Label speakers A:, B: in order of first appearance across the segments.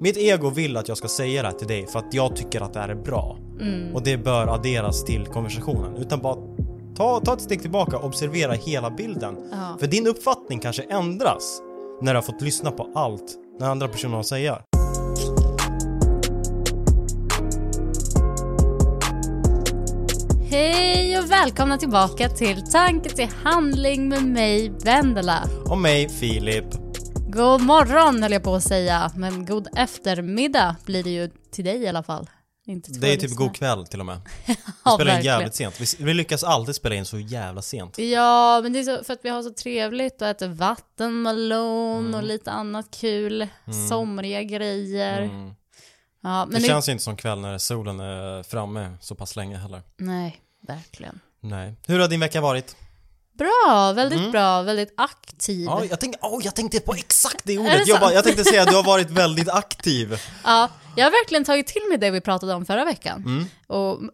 A: Mitt ego vill att jag ska säga det här till dig för att jag tycker att det här är bra.
B: Mm.
A: Och det bör adderas till konversationen. Utan bara ta, ta ett steg tillbaka, observera hela bilden.
B: Ja.
A: För din uppfattning kanske ändras när du har fått lyssna på allt den andra personen har att säga.
B: Hej och välkomna tillbaka till Tanke till handling med mig, Vendela.
A: Om mig, Filip.
B: God morgon höll jag på att säga, men god eftermiddag blir det ju till dig i alla fall. Inte till
A: Det är
B: våra
A: typ
B: lyssnare.
A: god kväll till och med. Vi
B: Ja,
A: spelar in
B: verkligen.
A: jävligt sent. Vi, vi lyckas alltid spela in så jävla sent.
B: Ja, men det är så, för att vi har så trevligt och äter vattenmelon
A: Mm.
B: och lite annat kul, somriga grejer.
A: Mm.
B: Ja, men
A: Det
B: det-
A: känns ju inte som kväll när solen är framme så pass länge heller.
B: Nej, verkligen.
A: Nej. Hur har din vecka varit?
B: Bra, väldigt
A: Mm.
B: bra, väldigt aktiv.
A: Ja, jag, tänkte, oh, jag tänkte på exakt det ordet.
B: det
A: jag, bara,
B: sant?
A: jag tänkte säga att du har varit väldigt aktiv.
B: Ja, jag har verkligen tagit till mig det vi pratade om förra veckan.
A: Mm.
B: Och m-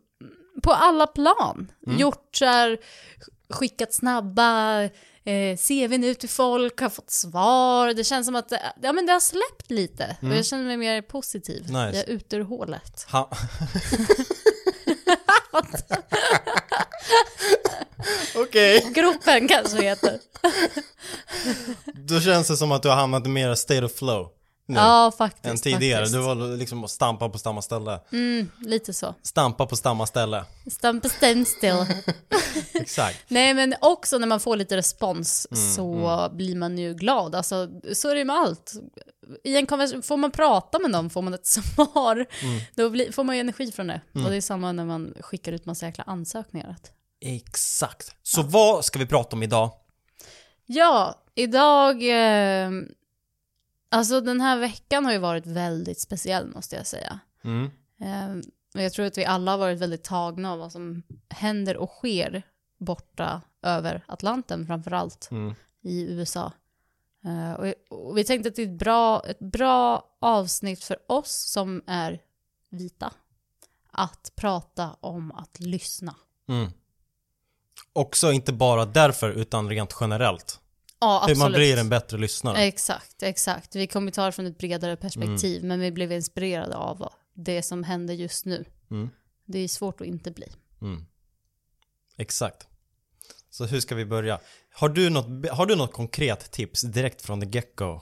B: på alla plan. Gjort så här, sk- skickat snabba eh, CVn ut till folk, har fått svar. Det känns som att det, ja, men det har släppt lite. Och jag känner mig mer positiv.
A: Mm. Nice.
B: Jag är ute ur hålet.
A: Ha. Okej.
B: Gropen kanske det heter.
A: Då känns det som att du har hamnat i mer state of flow nu
B: ja, faktiskt.
A: än tidigare.
B: Faktiskt.
A: Du var liksom och stampa på samma ställe.
B: Mm, lite så.
A: Stampa på samma ställe.
B: Stamp stand still.
A: Exakt.
B: Nej men också när man får lite respons så blir man ju glad. Alltså, så är det ju med allt. I en konvers- får man prata med någon får man ett svar. Då blir, får man ju energi från det. Och det är samma när man skickar ut massa jäkla ansökningar. Att-
A: Exakt. Så vad ska vi prata om idag?
B: Ja, idag... Eh, alltså den här veckan har ju varit väldigt speciell måste jag säga.
A: Mm.
B: Eh, och jag tror att vi alla har varit väldigt tagna av vad som händer och sker borta över Atlanten framförallt.
A: Mm.
B: i USA. Eh, och, och vi tänkte att det är ett bra, ett bra avsnitt för oss som är vita att prata om att lyssna.
A: Mm. Också inte bara därför utan rent generellt.
B: Ja, absolut.
A: Hur man blir en bättre lyssnare.
B: Exakt, exakt. Vi kommer ta det från ett bredare perspektiv,
A: Mm.
B: men vi blev inspirerade av det som händer just nu.
A: Mm.
B: Det är svårt att inte bli.
A: Mm. Exakt. Så hur ska vi börja? Har du, något, har du något konkret tips direkt från the get-go?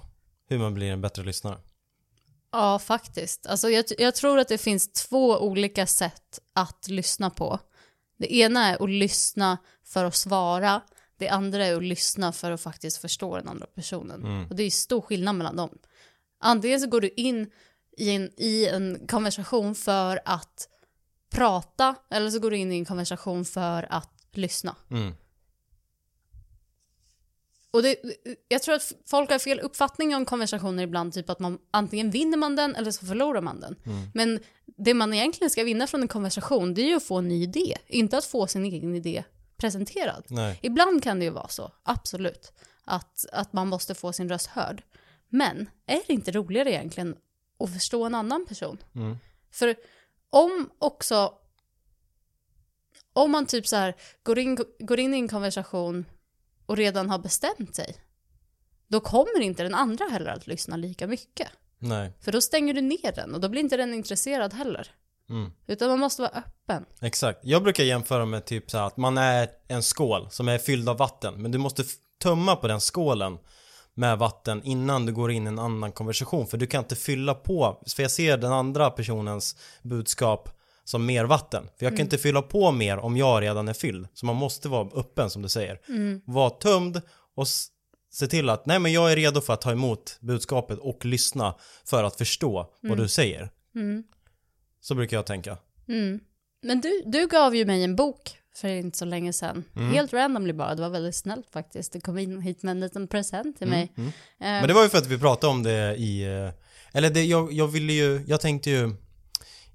A: Hur man blir en bättre lyssnare?
B: Ja, faktiskt. Alltså, jag, jag tror att det finns två olika sätt att lyssna på. Det ena är att lyssna för att svara. Det andra är att lyssna för att faktiskt förstå den andra personen. Och det är stor skillnad mellan dem. Antingen så går du in i en, i en konversation för att prata eller så går du in i en konversation för att lyssna.
A: Mm.
B: Och det, jag tror att folk har fel uppfattning om konversationer ibland, typ att man antingen vinner man den eller så förlorar man den. Men det man egentligen ska vinna från en konversation, det är ju att få en ny idé, inte att få sin egen idé presenterad.
A: Nej.
B: Ibland kan det ju vara så, absolut, att, att man måste få sin röst hörd. Men är det inte roligare egentligen att förstå en annan person?
A: Mm.
B: För om också, om man typ så här går in, går in i en konversation och redan har bestämt sig, då kommer inte den andra heller att lyssna lika mycket.
A: Nej.
B: För då stänger du ner den och då blir inte den intresserad heller.
A: Mm.
B: Utan man måste vara öppen.
A: Exakt. Jag brukar jämföra med typ så här att man är en skål som är fylld av vatten. Men du måste f- tömma på den skålen med vatten innan du går in i en annan konversation. För du kan inte fylla på. För jag ser den andra personens budskap som mer vatten. För jag kan inte fylla på mer om jag redan är fylld. Så man måste vara öppen som du säger. Var tömd och s- se till att nej men jag är redo för att ta emot budskapet och lyssna för att förstå vad du säger.
B: Mm.
A: Så brukar jag tänka.
B: Mm. Men du, du gav ju mig en bok för inte så länge sedan.
A: Mm.
B: Helt randomly bara, det var väldigt snällt faktiskt. Du kom in hit med en liten present till mig. Eh,
A: Mm, Men det var ju för att vi pratade om det i... eh, Eller det, jag, jag ville ju... Jag tänkte ju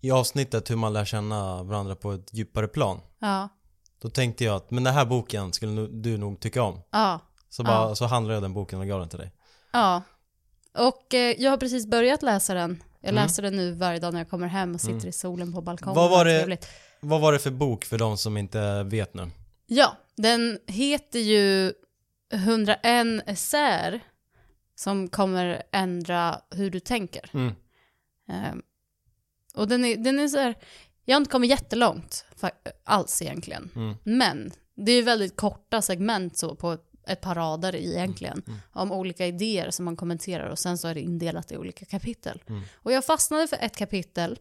A: i avsnittet hur man lär känna varandra på ett djupare plan.
B: Ja,
A: Då tänkte jag att men den här boken skulle nu- du nog tycka om.
B: ja.
A: Så, bara, så handlade jag den boken och gav den till dig.
B: Ja. Och eh, jag har precis börjat läsa den. Jag läser den nu varje dag när jag kommer hem och sitter i solen på balkongen.
A: Mm. Vad var det-
B: Trevligt.
A: Vad var det för bok för de som inte vet nu?
B: Ja, den heter ju 101 essäer som kommer ändra hur du tänker.
A: Mm.
B: Ehm, och den är, den är så här, jag har inte kommit jättelångt fa- alls egentligen.
A: Mm.
B: Men det är ju väldigt korta segment så på ett par rader
A: Mm,
B: egentligen. Om olika idéer som man kommenterar och sen så är det indelat i olika kapitel.
A: Mm.
B: Och jag fastnade för ett kapitel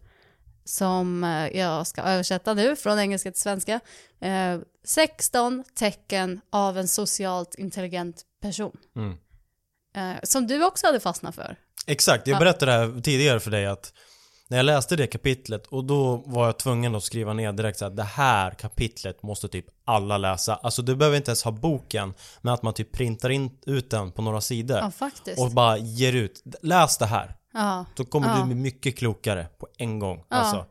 B: som eh, jag ska översätta nu från engelska till svenska. Eh, 16 tecken av en socialt intelligent person.
A: Mm.
B: Eh, som du också hade fastnat för.
A: Exakt, jag berättade det här tidigare för dig att när jag läste det kapitlet och då var jag tvungen att skriva ner direkt så att det här kapitlet måste typ alla läsa. Alltså du behöver inte ens ha boken, men att man typ printar in, ut den på några sidor
B: Ja, faktiskt.
A: och bara ger ut. Läs det här,
B: ja.
A: då kommer
B: Ja.
A: du bli mycket klokare på en gång. Alltså,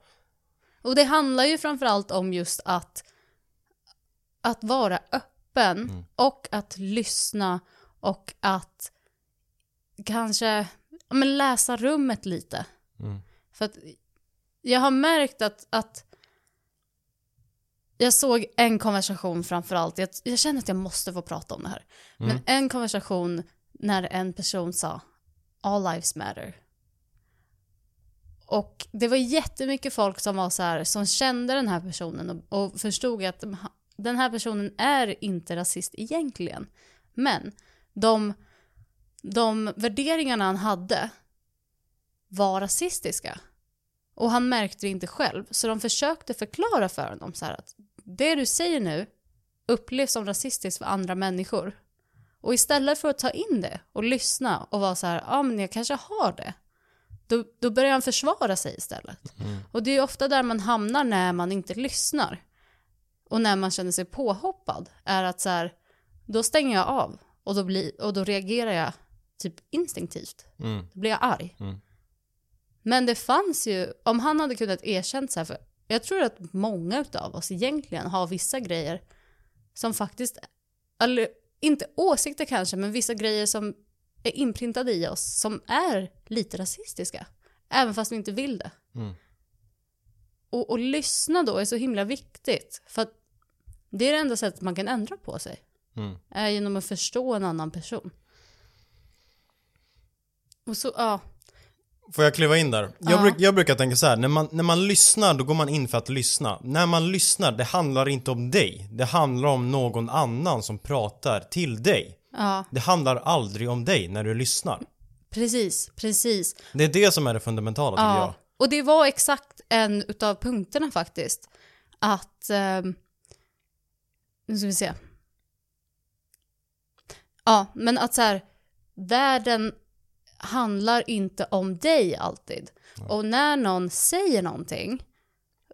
B: Och det handlar ju framförallt om just att, att vara öppen och att lyssna och att kanske ja, men läsa rummet lite.
A: Mm.
B: För att jag har märkt att, att jag såg en konversation framförallt, jag, jag känner att jag måste få prata om det här. Men en konversation när en person sa All lives matter. Och det var jättemycket folk som var så här, som kände den här personen och, och förstod att de- den här personen är inte rasist egentligen. Men de, de värderingarna han hade var rasistiska. Och han märkte det inte själv, så de försökte förklara för honom så här att det du säger nu upplevs som rasistiskt för andra människor. Och istället för att ta in det och lyssna och vara så här, ja ah, men jag kanske har det. Då, då börjar han försvara sig istället. Och det är ju ofta där man hamnar när man inte lyssnar. Och när man känner sig påhoppad är att så här, då stänger jag av och då, blir, och då reagerar jag typ instinktivt.
A: Mm.
B: Då blir jag arg.
A: Mm.
B: Men det fanns ju, om han hade kunnat erkänt så här, för jag tror att många av oss egentligen har vissa grejer som faktiskt, eller inte åsikter kanske, men vissa grejer som är inprintade i oss som är lite rasistiska. Även fast vi inte vill det.
A: Mm.
B: Och, och lyssna då är så himla viktigt. För att det är det enda sättet man kan ändra på sig.
A: Mm.
B: Är genom att förstå en annan person. Och så, ja.
A: Får jag kliva in där? Jag, bruk, jag brukar tänka så här, när man, när man lyssnar då går man in för att lyssna. När man lyssnar, det handlar inte om dig. Det handlar om någon annan som pratar till dig.
B: Ja,
A: Det handlar aldrig om dig när du lyssnar.
B: precis, precis.
A: Det är det som är det fundamentala tycker
B: Ja. Och det var exakt en utav punkterna faktiskt. Att, ehm, nu ska vi se. Ja, men att så här, världen handlar inte om dig alltid. Och när någon säger någonting,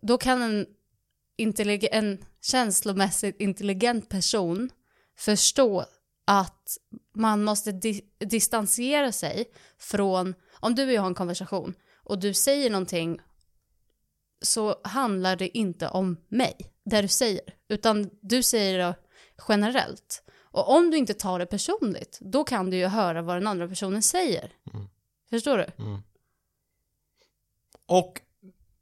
B: då kan en, intellig- en känslomässigt intelligent person förstå att man måste di- distansera sig från, om du och jag har en konversation och du säger någonting så handlar det inte om mig, det du säger, utan du säger det generellt. Och om du inte tar det personligt, då kan du ju höra vad den andra personen säger. Förstår du?
A: jag. Och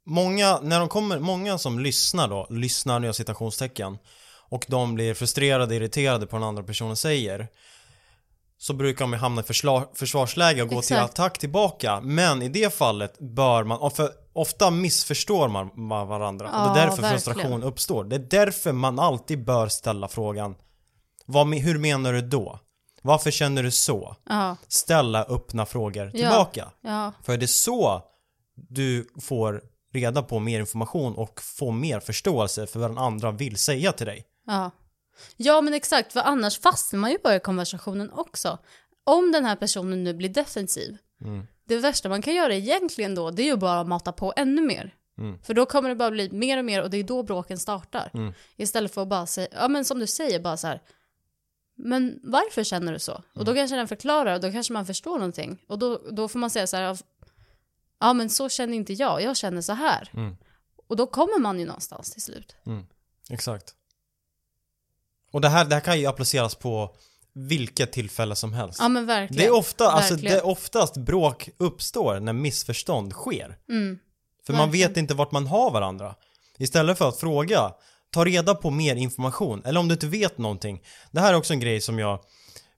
A: många, när de kommer, många som lyssnar då, lyssnar nu citationstecken och de blir frustrerade, irriterade på vad den andra personen säger så brukar man ju hamna i försla- försvarsläge och gå till
B: Exakt.
A: attack tillbaka. Men i det fallet bör man, och för ofta missförstår man ma- varandra och det
B: Ja,
A: är därför frustration
B: verkligen.
A: uppstår. Det är därför man alltid bör ställa frågan vad, me- hur menar du då? Varför känner du så?
B: Ja,
A: Ställa öppna frågor tillbaka.
B: ja,
A: För det är så du får reda på mer information och får mer förståelse för vad den andra vill säga till dig.
B: ja. Ja, men exakt, för annars fastnar man ju bara i konversationen också. Om den här personen nu blir defensiv, det värsta man kan göra egentligen då, det är ju bara att mata på ännu mer. För då kommer det bara bli mer och mer och det är då bråken startar. Istället för att bara säga, ja men som du säger, bara så här, men varför känner du så? Och då kanske den förklarar och då kanske man förstår någonting. Och då, då får man säga så här, ja men så känner inte jag, jag känner så här. Och då kommer man ju någonstans till slut.
A: Exakt. Och det här, det här kan ju appliceras på vilket tillfälle som helst.
B: Ja men verkligen.
A: det är ofta, alltså,
B: verkligen.
A: det är oftast bråk uppstår när missförstånd sker.
B: Mm.
A: För man
B: Verkligen.
A: vet inte vart man har varandra. Istället för att fråga, ta reda på mer information. Eller om du inte vet någonting. Det här är också en grej som jag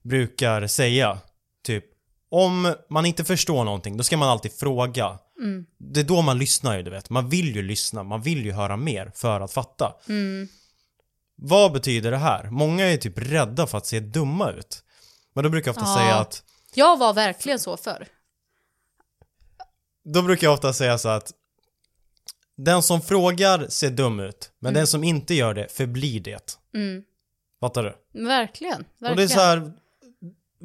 A: brukar säga. Typ, om man inte förstår någonting, då ska man alltid fråga.
B: Mm.
A: Det är då man lyssnar ju, du vet. Man vill ju lyssna, man vill ju höra mer för att fatta.
B: Mm.
A: Vad betyder det här? Många är typ rädda för att se dumma ut. Men då brukar jag ofta
B: Ja.
A: säga att
B: Jag var verkligen så förr.
A: Då brukar jag ofta säga så att den som frågar ser dum ut, men den som inte gör det förblir det.
B: Mm.
A: Fattar du?
B: Verkligen. verkligen.
A: Och det är så här,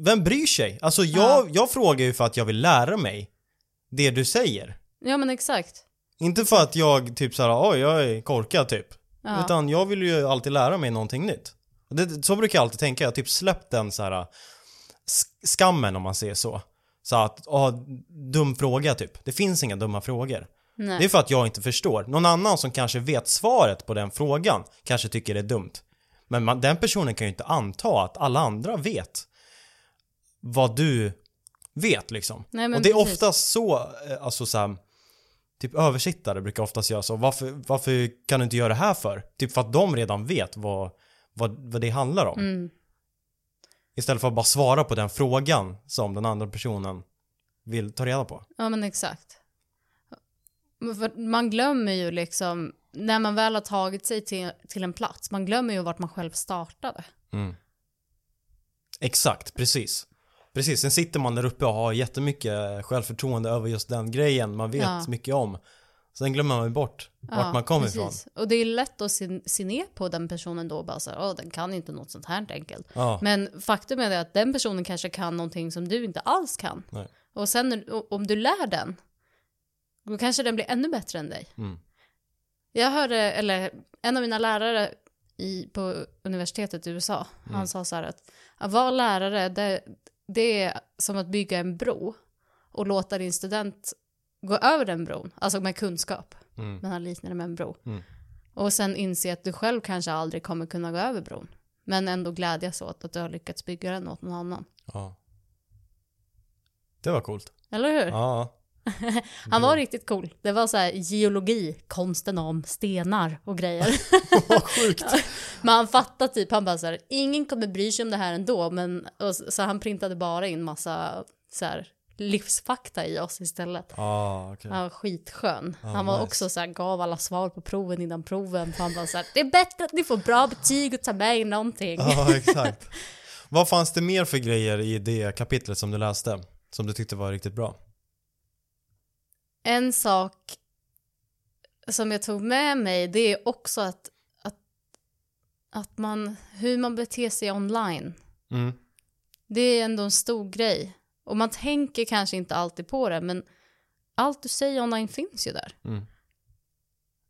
A: vem bryr sig? Alltså jag, jag frågar ju för att jag vill lära mig det du säger.
B: Ja men exakt.
A: Inte för att jag typ så här, oj jag är korkad typ.
B: Ja.
A: Utan jag vill ju alltid lära mig någonting nytt. Och Det, så brukar jag alltid tänka, jag har typ släppt den så här sk- skammen om man säger så. Så att, ja, dum fråga typ. Det finns inga dumma frågor.
B: Nej.
A: Det är för att jag inte förstår. Någon annan som kanske vet svaret på den frågan kanske tycker det är dumt. Men man, den personen kan ju inte anta att alla andra vet vad du vet liksom.
B: Nej, men
A: och det är
B: precis.
A: oftast så, eh, alltså så här, typ översittare brukar oftast göra så. Varför, varför kan du inte göra det här för? Typ för att de redan vet vad, vad, vad det handlar om.
B: Mm.
A: Istället för att bara svara på den frågan som den andra personen vill ta reda på.
B: Ja men exakt. Men för Man glömmer ju liksom, när man väl har tagit sig till, till en plats, man glömmer ju vart man själv startade.
A: Exakt, precis. Precis, sen sitter man där uppe och har jättemycket självförtroende över just den grejen man vet
B: Ja.
A: mycket om. Sen glömmer man ju bort vart man kommer ifrån.
B: precis. Och det är lätt att se, se ner på den personen då, bara så här, "Åh, den kan inte något sånt här enkelt.
A: Ja.
B: Men faktum är det att den personen kanske kan någonting som du inte alls kan.
A: Nej.
B: Och sen när- o- om du lär den, då kanske den blir ännu bättre än dig.
A: Mm.
B: Jag hörde, eller en av mina lärare i, på universitetet i USA,
A: Mm.
B: han sa så här att att vara lärare, det, det är som att bygga en bro och låta din student gå över den bron, alltså med kunskap.
A: Mm.
B: Men han liknar det med en bro.
A: Mm.
B: Och sen inse att du själv kanske aldrig kommer kunna gå över bron. Men ändå glädjas åt att du har lyckats bygga den åt någon annan.
A: Ja. Det var coolt.
B: Eller hur?
A: Ja.
B: Han var riktigt cool. Det var så här geologi, konsten om stenar och grejer.
A: Vad sjukt.
B: men han fattade typ, han bara så här, ingen kommer bry sig om det här ändå, men och så så han printade bara in massa så här livsfakta i oss istället.
A: Ja, okej.
B: Han var skitskön. han var
A: nice.
B: också så här, gav alla svar på proven innan proven, för han bara så här, det är bättre att ni får bra betyg och tar med i någonting.
A: Ja, exakt. Vad fanns det mer för grejer i det kapitlet som du läste? Som du tyckte var riktigt bra?
B: En sak som jag tog med mig det är också att, att, att man, hur man beter sig online.
A: Mm.
B: Det är ändå en stor grej. Och man tänker kanske inte alltid på det men allt du säger online finns ju där.
A: Mm.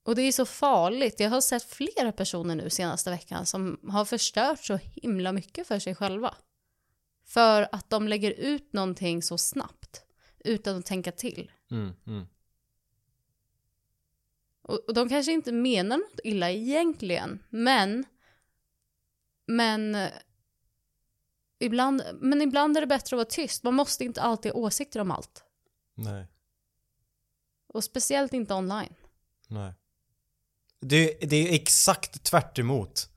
B: Och det är så farligt. Jag har sett flera personer nu senaste veckan som har förstört så himla mycket för sig själva. För att de lägger ut någonting så snabbt utan att tänka till.
A: Mm. Mm.
B: Och, och de kanske inte menar något illa egentligen, men... Men... eh, Ibland, men ibland är det bättre att vara tyst. Man måste inte alltid ha åsikter om allt.
A: Nej.
B: Och speciellt inte online.
A: Nej. Det, det är exakt tvärt emot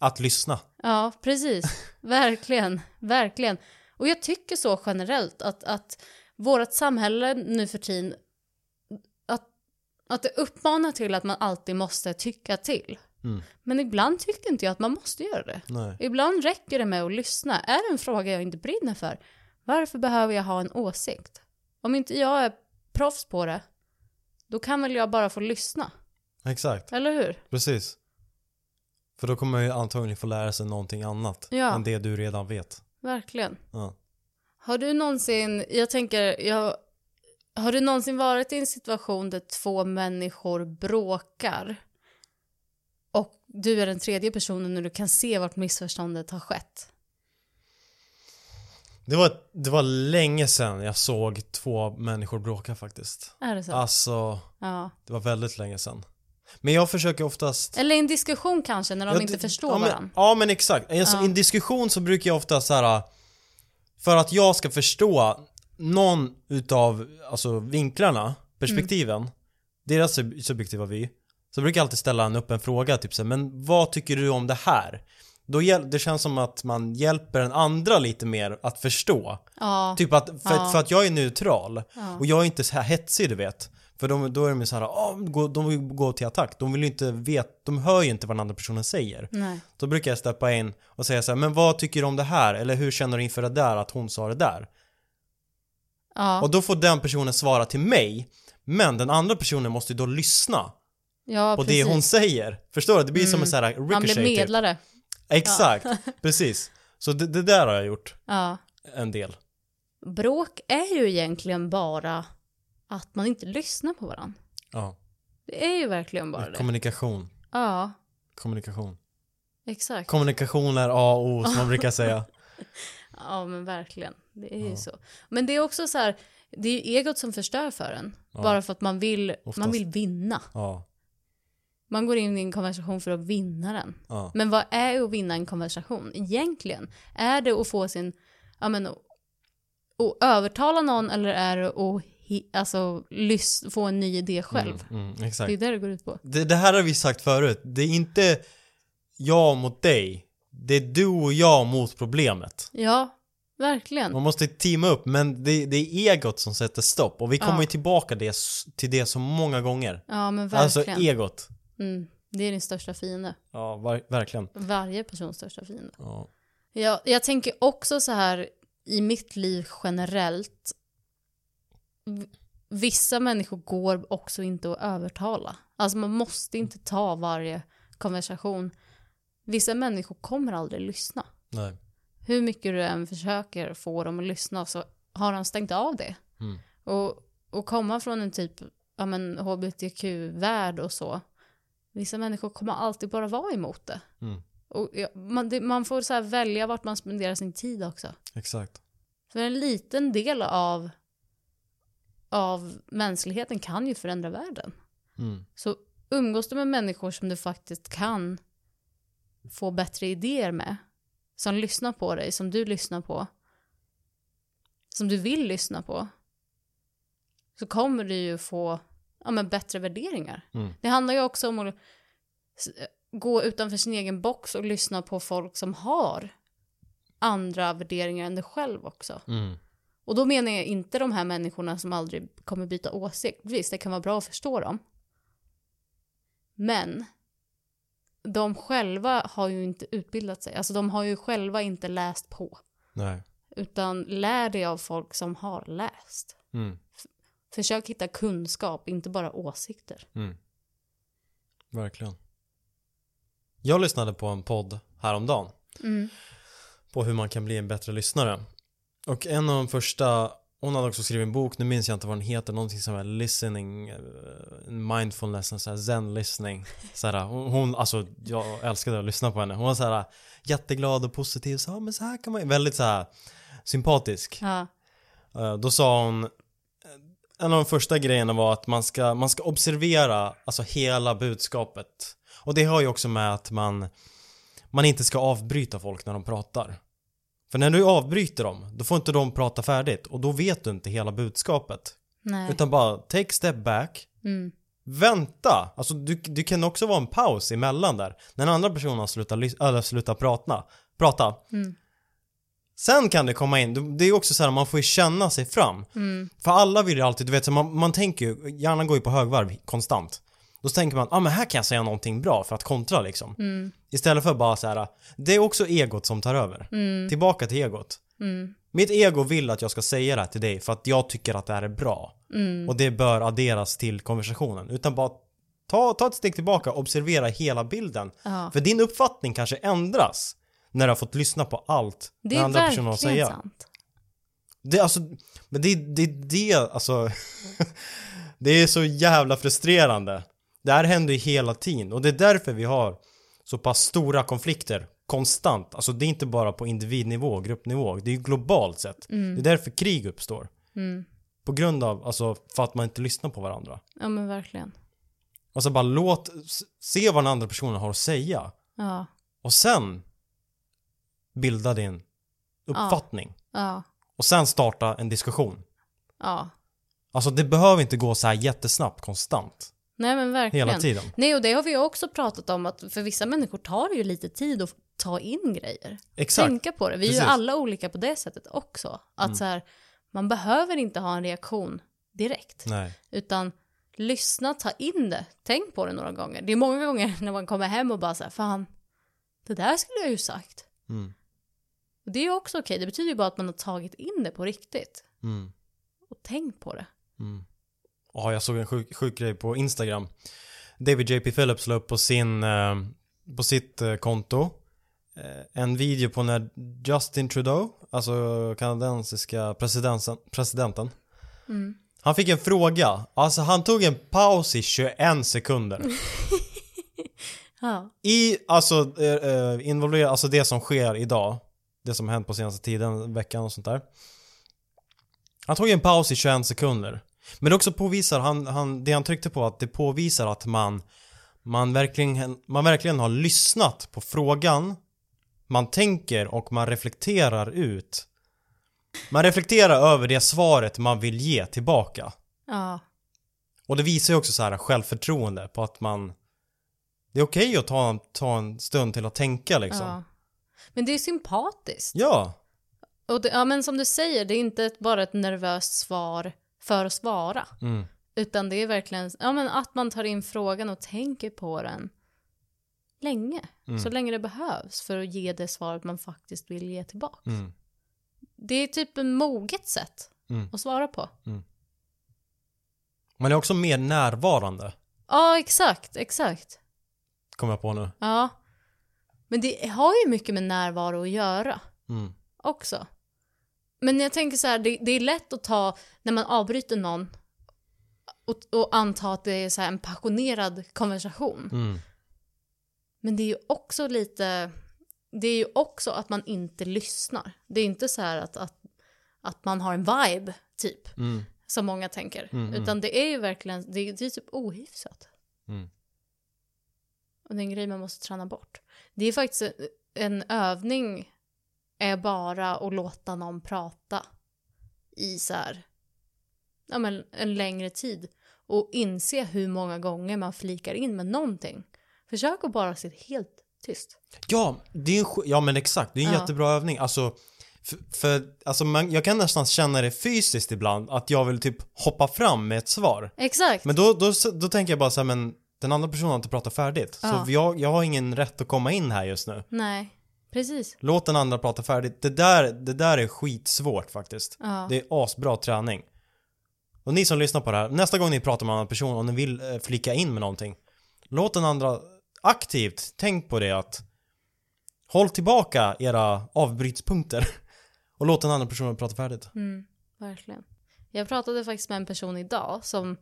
A: att lyssna.
B: Ja, precis. Verkligen, verkligen. Och jag tycker så generellt att, att vårt samhälle nu för tiden att, att det uppmanar till att man alltid måste tycka till.
A: Mm.
B: Men ibland tyckte inte jag att man måste göra det.
A: Nej.
B: Ibland räcker det med att lyssna. Är det en fråga jag inte brinner för, varför behöver jag ha en åsikt? Om inte jag är proffs på det, då kan väl jag bara få lyssna,
A: Exakt,
B: eller hur?
A: precis. För då kommer man ju antagligen få lära sig någonting annat
B: Ja.
A: än det du redan vet.
B: Verkligen.
A: Ja.
B: Har du någonsin, jag tänker, jag, har du någonsin varit i en situation där två människor bråkar och du är den tredje personen och du kan se vart missförståndet har skett?
A: Det, var, det var länge sedan jag såg två människor bråka faktiskt.
B: Är det så?
A: Alltså,
B: Ja.
A: det var väldigt länge sedan. Men jag försöker oftast...
B: Eller i en diskussion kanske, när de
A: Ja,
B: inte
A: det-
B: förstår
A: ja, men,
B: varandra.
A: Ja men exakt. Alltså,
B: Ja.
A: I en diskussion så brukar jag ofta så här. äh, för att jag ska förstå någon utav alltså, vinklarna, perspektiven, deras sub- subjektiva vy, så brukar jag alltid ställa en öppen fråga, typ så här, men vad tycker du om det här? Då hjäl- det känns som att man hjälper den andra lite mer att förstå.
B: Ja,
A: Typ att, för,
B: Ja.
A: för att jag är neutral och jag är inte så här hetsig du vet. För de, då är de ju så här, "Åh, gå- de vill gå till attack. De vill ju inte veta, de hör ju inte vad den andra personen säger.
B: nej.
A: Då brukar jag steppa in och säga så här, men vad tycker du om det här? Eller hur känner du inför det där att hon sa det där?
B: Ja,
A: Och då får den personen svara till mig. Men den andra personen måste ju då lyssna
B: ja
A: på
B: precis. Mm.
A: det hon säger. Förstår du? Det blir som en sån här
B: Han
A: ricochet.
B: blev
A: typ.
B: medlare.
A: Exakt, precis. Så det, det där har jag gjort
B: Ja.
A: en del.
B: Bråk är ju egentligen bara att man inte lyssnar på varandra.
A: Ja.
B: Det är ju verkligen bara det.
A: Kommunikation.
B: Ja,
A: Kommunikation.
B: exakt.
A: Kommunikation är A och O som man brukar säga.
B: Ja, men verkligen. Det är ju så. Men det är också så här, det är ju egot som förstör för en. Bara för att man vill, man
A: Oftast.
B: vill vinna.
A: Ja.
B: Man går in i en konversation för att vinna den.
A: Ja.
B: Men vad är att vinna en konversation egentligen? Är det att få sin, ja men, att att övertala någon eller är det att hi, alltså, lys, få en ny idé själv?
A: Mm,
B: Det är
A: exakt.
B: det det går ut på.
A: Det, det här har vi sagt förut. Det är inte jag mot dig. Det är du och jag mot problemet.
B: Ja, verkligen.
A: Man måste teama upp, men det, det är egot som sätter stopp. Och vi kommer
B: Ja.
A: ju tillbaka det, s- till det så många gånger.
B: Ja, men
A: Alltså
B: verkligen.
A: egot.
B: mm. Det är din största fiende.
A: Ja, var, verkligen.
B: Varje persons största fiende.
A: Ja.
B: Jag, jag tänker också så här i mitt liv generellt. v- Vissa människor går också inte att övertala. Alltså man måste inte ta varje konversation. Vissa människor kommer aldrig lyssna.
A: Nej.
B: Hur mycket du än försöker få dem att lyssna så har han stängt av det.
A: Mm.
B: Och, och komma från en typ ja, men, hbtq-värld och så. Vissa människor kommer alltid bara vara emot det.
A: Mm.
B: Och, ja, man, det, man får så här välja vart man spenderar sin tid också.
A: Exakt.
B: För en liten del av, av mänskligheten kan ju förändra världen.
A: Mm.
B: Så umgås du med människor som du faktiskt kan få bättre idéer med, som lyssnar på dig, som du lyssnar på, som du vill lyssna på, så kommer du ju få ja, men bättre värderingar.
A: Mm.
B: Det handlar ju också om att s- eh, gå utanför sin egen box och lyssna på folk som har andra värderingar än dig själv också.
A: Mm.
B: Och då menar jag inte de här människorna som aldrig kommer byta åsikt. Visst, det kan vara bra att förstå dem. Men de själva har ju inte utbildat sig. Alltså de har ju själva inte läst på.
A: Nej.
B: Utan lär dig av folk som har läst.
A: Mm.
B: Försök hitta kunskap, inte bara åsikter.
A: Mm. Verkligen. Jag lyssnade på en podd häromdagen
B: Mm.
A: på hur man kan bli en bättre lyssnare. Och en av de första, hon hade också skrivit en bok, nu minns jag inte vad den heter, någonting som är listening, eh, mindfulness, en sån här zen listening. Så här, hon, hon- alltså jag älskade att lyssna på henne. Hon var så här jätteglad och positiv, så, "Ja, men så här kan man väldigt så här sympatisk.
B: Ja.
A: Eh, Då sa hon eh, en av de första grejerna var att man ska, man ska observera alltså hela budskapet. Och det har ju också med att man, man inte ska avbryta folk när de pratar. För när du avbryter dem, då får inte de prata färdigt och då vet du inte hela budskapet.
B: Nej.
A: Utan bara take a step back,
B: Mm.
A: vänta. Alltså du, du kan också vara en paus emellan där. När den andra personen har slutat, lys- eller slutat prata, prata.
B: Mm.
A: Sen kan det komma in, Du- det är också så här, man får ju känna sig fram.
B: Mm.
A: För alla vill ju alltid, du vet, så man, man tänker ju, hjärnan går ju på högvarv konstant. Då tänker man, ah men här kan jag säga någonting bra för att kontra liksom.
B: Mm.
A: Istället för bara så här, det är också egot som tar över.
B: Mm.
A: Tillbaka till egot.
B: Mm.
A: Mitt ego vill att jag ska säga det här till dig för att jag tycker att det här är bra.
B: Mm.
A: Och det bör adderas till konversationen. Utan bara ta, ta ett steg tillbaka, observera hela bilden.
B: Ja.
A: För din uppfattning kanske ändras när du har fått lyssna på allt
B: Det
A: den
B: är
A: andra personen har att
B: verkligen
A: säga.
B: sant.
A: Det, alltså, men det, det, det, alltså, det är så jävla frustrerande. Det här händer ju hela tiden och det är därför vi har så pass stora konflikter konstant. Alltså det är inte bara på individnivå och gruppnivå, det är ju globalt sett. Det är därför krig uppstår.
B: Mm.
A: På grund av, alltså för att man inte lyssnar på varandra.
B: Ja men verkligen.
A: Alltså bara låt, s- se vad den andra personen har att säga
B: Ja.
A: och sen bilda din uppfattning.
B: Ja.
A: Och sen starta en diskussion.
B: Ja.
A: Alltså det behöver inte gå så här jättesnabbt konstant.
B: Nej men verkligen.
A: Hela tiden.
B: Nej, och det har vi ju också pratat om, att för vissa människor tar det ju lite tid att ta in grejer.
A: Exakt.
B: Tänka på det. Vi är ju
A: Precis. Mm.
B: alla olika på det sättet också. Att så här, man behöver inte ha en reaktion direkt.
A: Nej.
B: Utan lyssna, ta in det, tänk på det några gånger. Det är många gånger när man kommer hem och bara så här, fan, det där skulle jag ju sagt.
A: Mm.
B: Och det är ju också okej, det betyder ju bara att man har tagit in det på riktigt.
A: Mm.
B: Och tänkt på det.
A: Ja, jag såg en sjuk, sjuk grej på Instagram. David JP Phillips la upp på sin, eh, på sitt eh, konto eh, en video på när Justin Trudeau, alltså kanadensiska presidenten, presidenten han fick en fråga. Alltså han tog en paus i 21 sekunder.
B: Ja,
A: I, alltså, eh, eh, involvera, alltså det som sker idag. Det som har hänt på senaste tiden, veckan och sånt där. Han tog ju en paus i 21 sekunder. Men det också påvisar, han, han, det han tryckte på, att det påvisar att man, man, verkligen, man verkligen har lyssnat på frågan. Man tänker och man reflekterar ut. Man reflekterar över det svaret man vill ge tillbaka.
B: ja,
A: Och det visar ju också så här självförtroende på att man Det är okej att ta en, ta en stund till att tänka liksom. Ja.
B: ja. Men det är sympatiskt. Och det, ja, men som du säger, det är inte ett, bara ett nervöst svar för att svara.
A: Mm.
B: Utan det är verkligen ja, men att man tar in frågan och tänker på den länge.
A: Mm.
B: Så länge det behövs för att ge det svaret man faktiskt vill ge tillbaka.
A: Mm.
B: Det är typ ett moget sätt
A: Mm.
B: att svara på.
A: Man är också mer närvarande,
B: Ja, exakt, exakt.
A: kommer jag på nu.
B: Ja. Men det har ju mycket med närvaro att göra.
A: Mm.
B: också. Men jag tänker så här, det, det är lätt att ta, när man avbryter någon och, och anta att det är så här en passionerad konversation.
A: Mm.
B: Men det är ju också lite, det är ju också att man inte lyssnar. Det är inte så här att, att, att man har en vibe, typ,
A: Mm.
B: som många tänker.
A: Mm, mm.
B: Utan det är ju verkligen, det, är- det är typ ohyfsat.
A: Mm.
B: Och det är en grej man måste träna bort. Det är faktiskt en, en övning är bara att låta någon prata i så här, ja men en längre tid. Och inse hur många gånger man flikar in med någonting. Försök att bara sitta helt tyst.
A: Ja, det är en, sk- ja men exakt, det är en
B: Ja.
A: jättebra övning. Alltså, för, för alltså man, jag kan nästan känna det fysiskt ibland att jag vill typ hoppa fram med ett svar.
B: Exakt.
A: Men då, då, då tänker jag bara så här, men den andra personen har inte pratat färdigt.
B: Ja.
A: Så jag, jag har ingen rätt att komma in här just nu.
B: Nej, precis.
A: Låt den andra prata färdigt. Det där, det där är skitsvårt faktiskt.
B: Ja.
A: Det är asbra träning. Och ni som lyssnar på det här, nästa gång ni pratar med en annan person och ni vill eh, flika in med någonting, låt den andra aktivt, tänk på det att håll tillbaka era avbrytspunkter och låt den andra personen prata färdigt.
B: Verkligen. Jag pratade faktiskt med en person idag som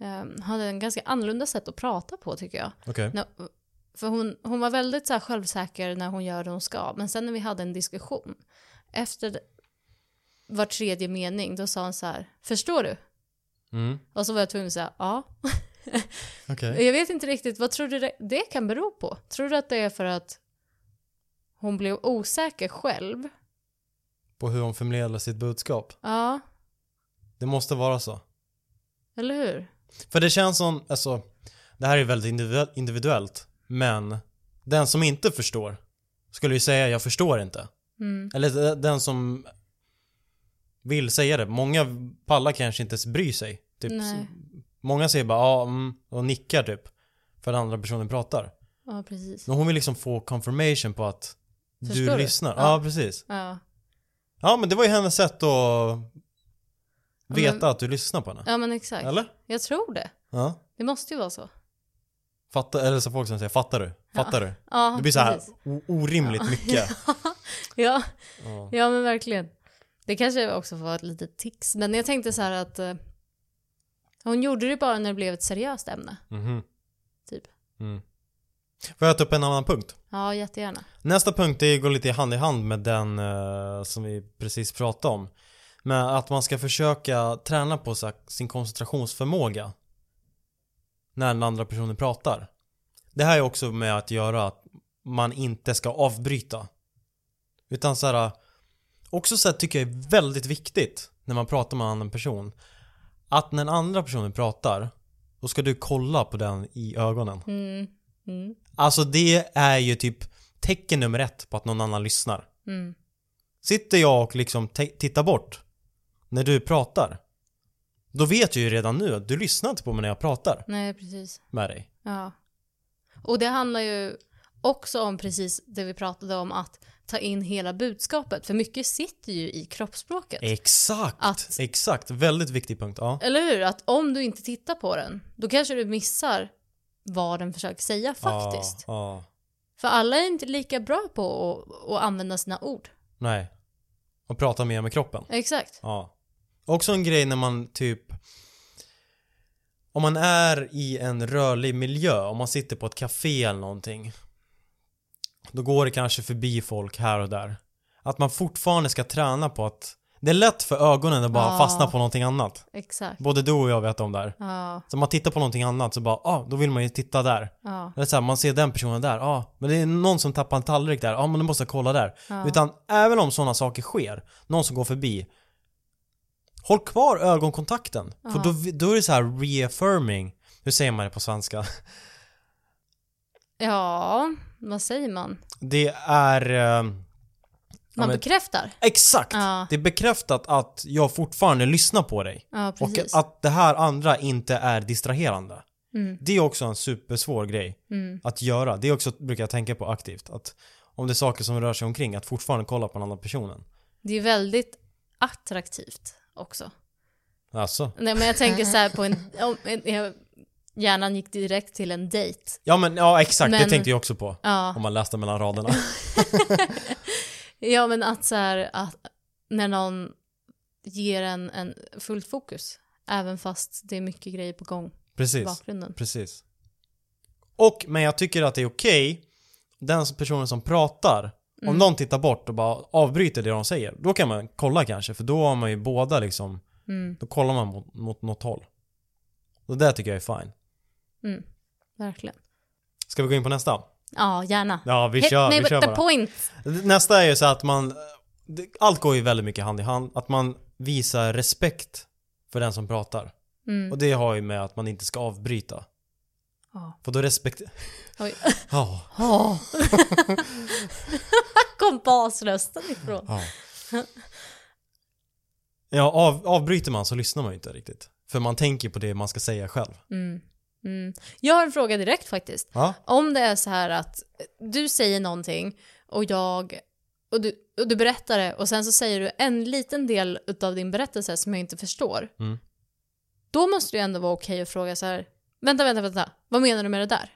B: ehm, hade en ganska annorlunda sätt att prata på tycker jag.
A: Okej.
B: När, för hon, hon var väldigt så här, självsäker när hon gör det hon ska. Men sen när vi hade en diskussion, efter det- var tredje mening, då sa hon så här, förstår du?
A: Mm.
B: Och så var jag tvungen att säga ja.
A: Okej.
B: Jag vet inte riktigt, vad tror du det, det kan bero på? Tror du att det är för att hon blev osäker själv?
A: På hur hon förmedlar sitt budskap.
B: Ja,
A: Det måste vara så.
B: eller hur?
A: För det känns som, alltså, det här är väldigt individu- individuellt, men den som inte förstår skulle ju säga jag förstår inte.
B: Mm.
A: Eller de- den som vill säga det. Många pallar kanske inte ens bry sig. Typ.
B: Nej.
A: Många säger bara ja, mm, och nickar typ. För den andra personen pratar.
B: Ja, precis.
A: Men hon vill liksom få confirmation på att
B: Förstår
A: du
B: du?
A: lyssnar. Ja.
B: Ja.
A: precis.
B: Ja.
A: Ja, men det var ju hennes sätt att veta
B: men-
A: att du lyssnar på henne.
B: Mm. ja, men exakt.
A: Eller?
B: Jag tror det.
A: Ja.
B: Det måste ju vara så.
A: Fattar, eller så folk som säger fattar du? Fattar du?
B: Ja,
A: Det blir så här
B: precis.
A: o- orimligt mycket.
B: Ja,
A: Ja.
B: ja, men verkligen. Det kanske också var ett litet tics. Men jag tänkte så här att eh, hon gjorde det bara när det blev ett seriöst ämne.
A: Mhm.
B: Typ.
A: Mm. Får jag ta upp en annan punkt?
B: Ja, jättegärna.
A: Nästa punkt är, går lite hand i hand med den eh, som vi precis pratade om. Men att man ska försöka träna på så här, sin koncentrationsförmåga. När den andra personen pratar. Det här är också med att göra att man inte ska avbryta. Utan så här, också så här tycker jag är väldigt viktigt när man pratar med en annan person. Att när den andra personen pratar, då ska du kolla på den i ögonen.
B: Mm. Mm.
A: Alltså det är ju typ tecken nummer ett på att någon annan lyssnar.
B: Mm.
A: Sitter jag och liksom te- tittar bort när du pratar, då vet jag ju redan nu att du lyssnar inte på mig när jag pratar
B: Nej, precis.
A: med dig.
B: Ja. Och det handlar ju också om precis det vi pratade om att ta in hela budskapet. För mycket sitter ju i kroppsspråket.
A: Eh. Exakt!
B: Att-
A: Exakt, väldigt viktig punkt. Ja.
B: Eller hur? Att om du inte tittar på den, då kanske du missar vad den försöker säga faktiskt.
A: Ja, ja.
B: För alla är inte lika bra på att, att använda sina ord.
A: Nej. Och prata mer med kroppen.
B: Exakt.
A: Ja. Också en grej när man typ om man är i en rörlig miljö, om man sitter på ett café eller någonting då går det kanske förbi folk här och där. Att man fortfarande ska träna på att det är lätt för ögonen att bara
B: Ja.
A: fastna på någonting annat.
B: Exakt.
A: Både du och jag vet om det här.
B: Ja,
A: Så man tittar på någonting annat så bara, ah, då vill man ju titta där.
B: ja,
A: Eller så här, man ser den personen där, ja, ah, men det är någon som tappar en tallrik där, ja ah, men då måste jag kolla där.
B: ja.
A: Utan även om sådana saker sker, någon som går förbi, håll kvar ögonkontakten. För
B: Ja.
A: då, då är det så här reaffirming, hur säger man det på svenska?
B: ja, vad säger man?
A: Det är... Eh, men-
B: Man bekräftar.
A: exakt!
B: Ja.
A: Det är bekräftat att jag fortfarande lyssnar på dig.
B: Ja, precis.
A: Och att det här andra inte är distraherande.
B: Mm,
A: Det är också en supersvår grej
B: mm,
A: att göra. Det är också, brukar jag tänka på aktivt. Att om det är saker som rör sig omkring, att fortfarande kolla på den andra personen.
B: det är väldigt attraktivt också.
A: Alltså.
B: Nej, men jag tänker så här på en... Om, en jag, hjärnan gick direkt till en dejt.
A: Ja men ja exakt, det
B: Men-
A: tänkte jag också på.
B: Ja.
A: Om man läste mellan raderna.
B: Ja men att så här, att när någon ger en, en fullt fokus. Även fast det är mycket grejer på gång i
A: Precis.
B: bakgrunden.
A: Precis. Och, men jag tycker att det är okej, den som- personen som pratar,
B: Mm.
A: om någon tittar bort och bara avbryter det de säger, då kan man kolla kanske, för då har man ju båda liksom,
B: Mm,
A: då kollar man mot, mot något håll. Och det där tycker jag är fine.
B: verkligen.
A: Ska vi gå in på nästa?
B: Ja, gärna.
A: Ja, vi
B: Hit
A: kör,
B: me
A: vi
B: with
A: kör
B: the
A: bara.
B: point.
A: Nästa är ju så att man, det- allt går ju väldigt mycket hand i hand, att man visar respekt för den som pratar.
B: Mm.
A: Och det har ju med att man inte ska avbryta.
B: Ja.
A: För då respekt...
B: Oj.
A: Ja.
B: Oh. Kom basrösten ifrån.
A: Ja. Ja, av, avbryter man så lyssnar man ju inte riktigt. För man tänker på det man ska säga själv.
B: Mm. Mm. Jag har en fråga direkt faktiskt.
A: Ja,
B: Om det är så här att du säger någonting och jag och du, och du berättar det och sen så säger du en liten del av din berättelse som jag inte förstår.
A: Mm.
B: Då måste det ju ändå vara okej att fråga så här, vänta, vänta, vänta, vad menar du med det där?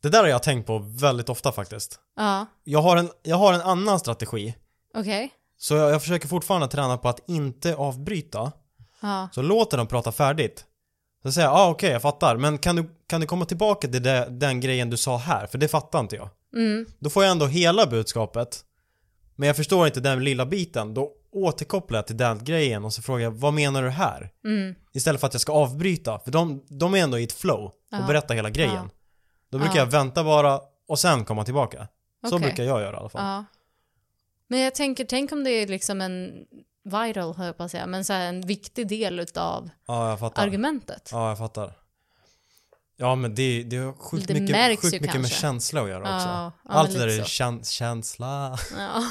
A: det där har jag tänkt på väldigt ofta faktiskt.
B: Ja,
A: Jag har en, jag har en annan strategi.
B: okej.
A: Så jag, jag försöker fortfarande träna på att inte avbryta.
B: Ja,
A: Så låter dem prata färdigt. Så säger jag, ah, okej jag fattar, men kan du, kan du komma tillbaka till det, den grejen du sa här? För det fattar inte jag.
B: mm,
A: Då får jag ändå hela budskapet. Men jag förstår inte den lilla biten. Då återkopplar jag till den grejen och så frågar jag, vad menar du här?
B: mm,
A: Istället för att jag ska avbryta, för de, de är ändå i ett flow och
B: Ja.
A: berättar hela grejen.
B: Ja.
A: Då brukar
B: Ja.
A: jag vänta bara och sen komma tillbaka. Så
B: Okej.
A: brukar jag göra i alla fall.
B: ja. Men jag tänker, tänk om det är liksom en viral, höll jag på att säga, men så här en viktig del utav
A: Ja, jag fattar.
B: argumentet.
A: Ja, jag fattar. Ja, men det, det har sjukt
B: Det
A: mycket,
B: märks
A: sjukt
B: ju
A: mycket med
B: kanske.
A: känsla att göra också.
B: Ja, ja,
A: Allt det
B: men
A: där
B: lite
A: är
B: så.
A: käns- känsla.
B: Ja.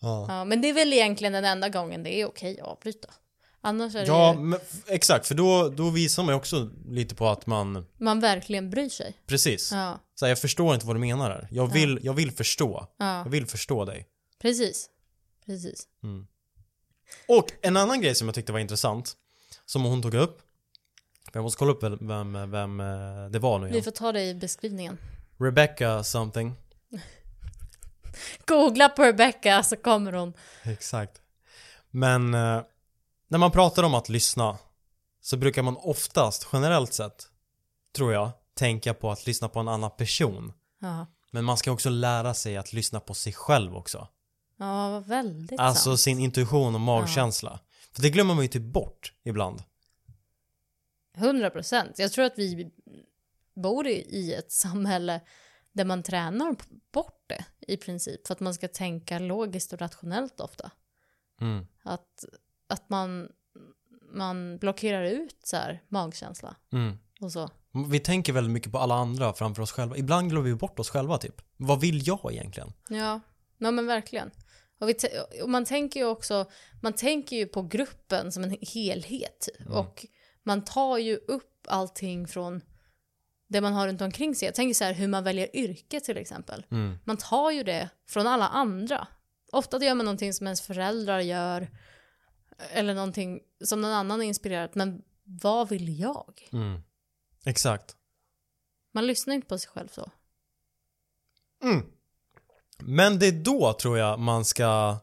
A: Ja,
B: Ja, men det är väl egentligen den enda gången det är okej att avbryta. Annars är
A: ja
B: det ju,
A: men, f- exakt. För då, då visar man ju också lite på att man,
B: man verkligen bryr sig.
A: precis.
B: Ja,
A: Så här, jag förstår inte vad du menar här. Jag vill, jag vill förstå.
B: ja.
A: Jag vill förstå dig.
B: precis. Precis.
A: Och en annan grej som jag tyckte var intressant Som hon tog upp Jag måste kolla upp vem, vem, vem eh, det var nu
B: Vi
A: igen.
B: får ta det i beskrivningen.
A: Rebecca something
B: Googla på Rebecca så kommer hon.
A: Exakt Men eh, När man pratar om att lyssna Så brukar man oftast generellt sett Tror jag Tänka på att lyssna på en annan person
B: Ja,
A: Men man ska också lära sig att lyssna på sig själv också
B: ja vad väldigt
A: Alltså
B: sant.
A: sin intuition och magkänsla För det glömmer man ju typ bort ibland
B: 100 procent. Jag tror att vi bor i, i ett samhälle där man tränar p- bort det i princip. För att man ska tänka logiskt och rationellt ofta.
A: mm.
B: Att, att man, man blockerar ut så här magkänsla
A: Mm.
B: och så.
A: Vi tänker väldigt mycket på alla andra framför oss själva. Ibland glömmer vi bort oss själva typ. Vad vill jag egentligen?
B: Ja, ja men verkligen. Och, vi te- och man tänker ju också, man tänker ju på gruppen som en helhet typ. och man tar ju upp allting från det man har runt omkring sig. Jag tänker så här hur man väljer yrke till exempel.
A: Mm.
B: Man tar ju det från alla andra. Ofta gör man någonting som ens föräldrar gör eller någonting som någon annan har inspirerat. Men vad vill jag?
A: Mm. Exakt.
B: Man lyssnar inte på sig själv så.
A: Men det är då tror jag man ska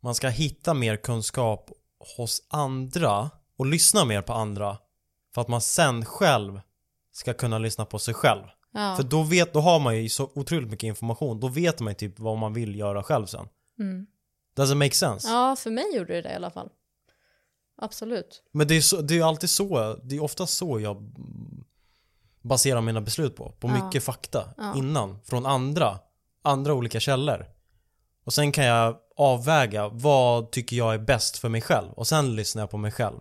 A: man ska hitta mer kunskap hos andra och lyssna mer på andra för att man sen själv ska kunna lyssna på sig själv.
B: Ja.
A: För då vet, då har man ju så otroligt mycket information. Då vet man ju typ vad man vill göra själv sen.
B: Mm.
A: Doesn't make sense.
B: ja, för mig gjorde det det i alla fall. Absolut.
A: Men det är så- det är ju alltid så, det är ofta så jag baserar mina beslut på. På
B: Ja.
A: mycket fakta
B: Ja.
A: innan, från andra, andra olika källor. Och sen kan jag avväga, vad tycker jag är bäst för mig själv? Och sen lyssnar jag på mig själv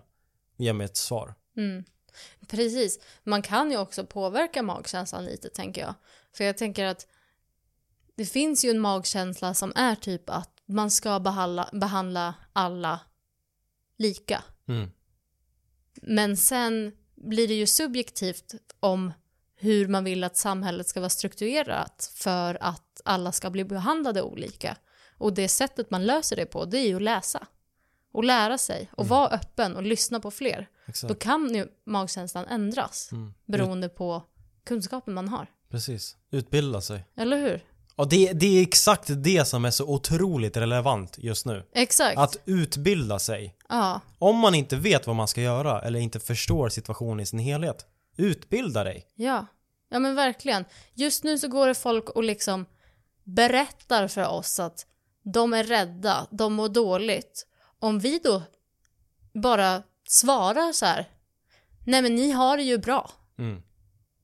A: och ger mig ett svar.
B: Precis. Man kan ju också påverka magkänslan lite, tänker jag. För jag tänker att det finns ju en magkänsla som är typ att man ska behandla, behandla alla lika.
A: Mm.
B: Men sen blir det ju subjektivt om hur man vill att samhället ska vara strukturerat för att alla ska bli behandlade olika. Och det sättet man löser det på, det är ju att läsa. Och lära sig och vara öppen och lyssna på fler. Då
A: Mm. Exakt.
B: kan ju magkänslan ändras
A: Mm.
B: beroende på kunskapen man har.
A: Precis. Utbilda sig.
B: Eller hur?
A: Och det, det är exakt det som är så otroligt relevant just nu.
B: Exakt.
A: Att utbilda sig.
B: Ja,
A: Om man inte vet vad man ska göra eller inte förstår situationen i sin helhet, utbilda dig.
B: ja. Ja men verkligen. Just nu så går det folk och liksom berättar för oss att de är rädda, de mår dåligt. Om vi då bara svarar så här, nej men ni har det ju bra.
A: Mm.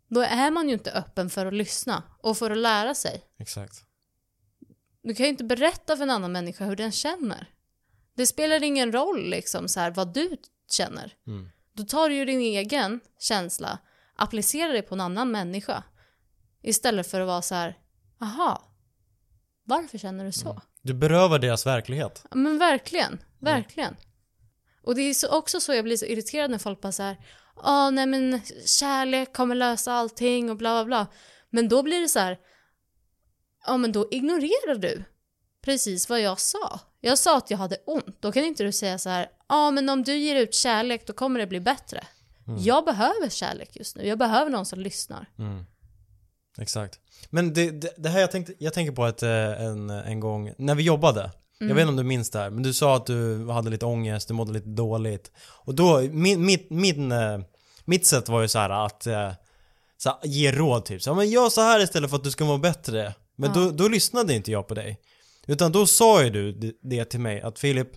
B: Då är man ju inte öppen för att lyssna och för att lära sig.
A: Exakt.
B: Du kan ju inte berätta för en annan människa hur den känner. Det spelar ingen roll liksom så här, vad du känner.
A: Mm.
B: Då tar du ju din egen känsla, applicerar det på en annan människa. Istället för att vara så här, aha, varför känner du så?
A: Du berövar deras verklighet.
B: Ja, Men verkligen, verkligen. Och det är så, också så jag blir så irriterad när folk bara så här, ja nej men kärlek kommer lösa allting och bla bla bla. Men då blir det så här, ja men då ignorerar du precis vad jag sa. Jag sa att jag hade ont, då kan inte du säga så här, ja men om du ger ut kärlek då kommer det bli bättre. Jag behöver kärlek just nu, jag behöver någon som lyssnar.
A: Exakt. Men det, det, det här jag, tänkte, jag tänker på ett, eh, en, en gång när vi jobbade. Jag vet inte om du minns det här, men du sa att du hade lite ångest, du mådde lite dåligt. Och då, min, mitt, min, eh, mitt sätt var ju så här att eh, så här, ge råd typ. Så, här, men gör så här istället för att du ska må bättre. Men då, då lyssnade inte jag på dig. Utan då sa ju du det- det till mig att Filip,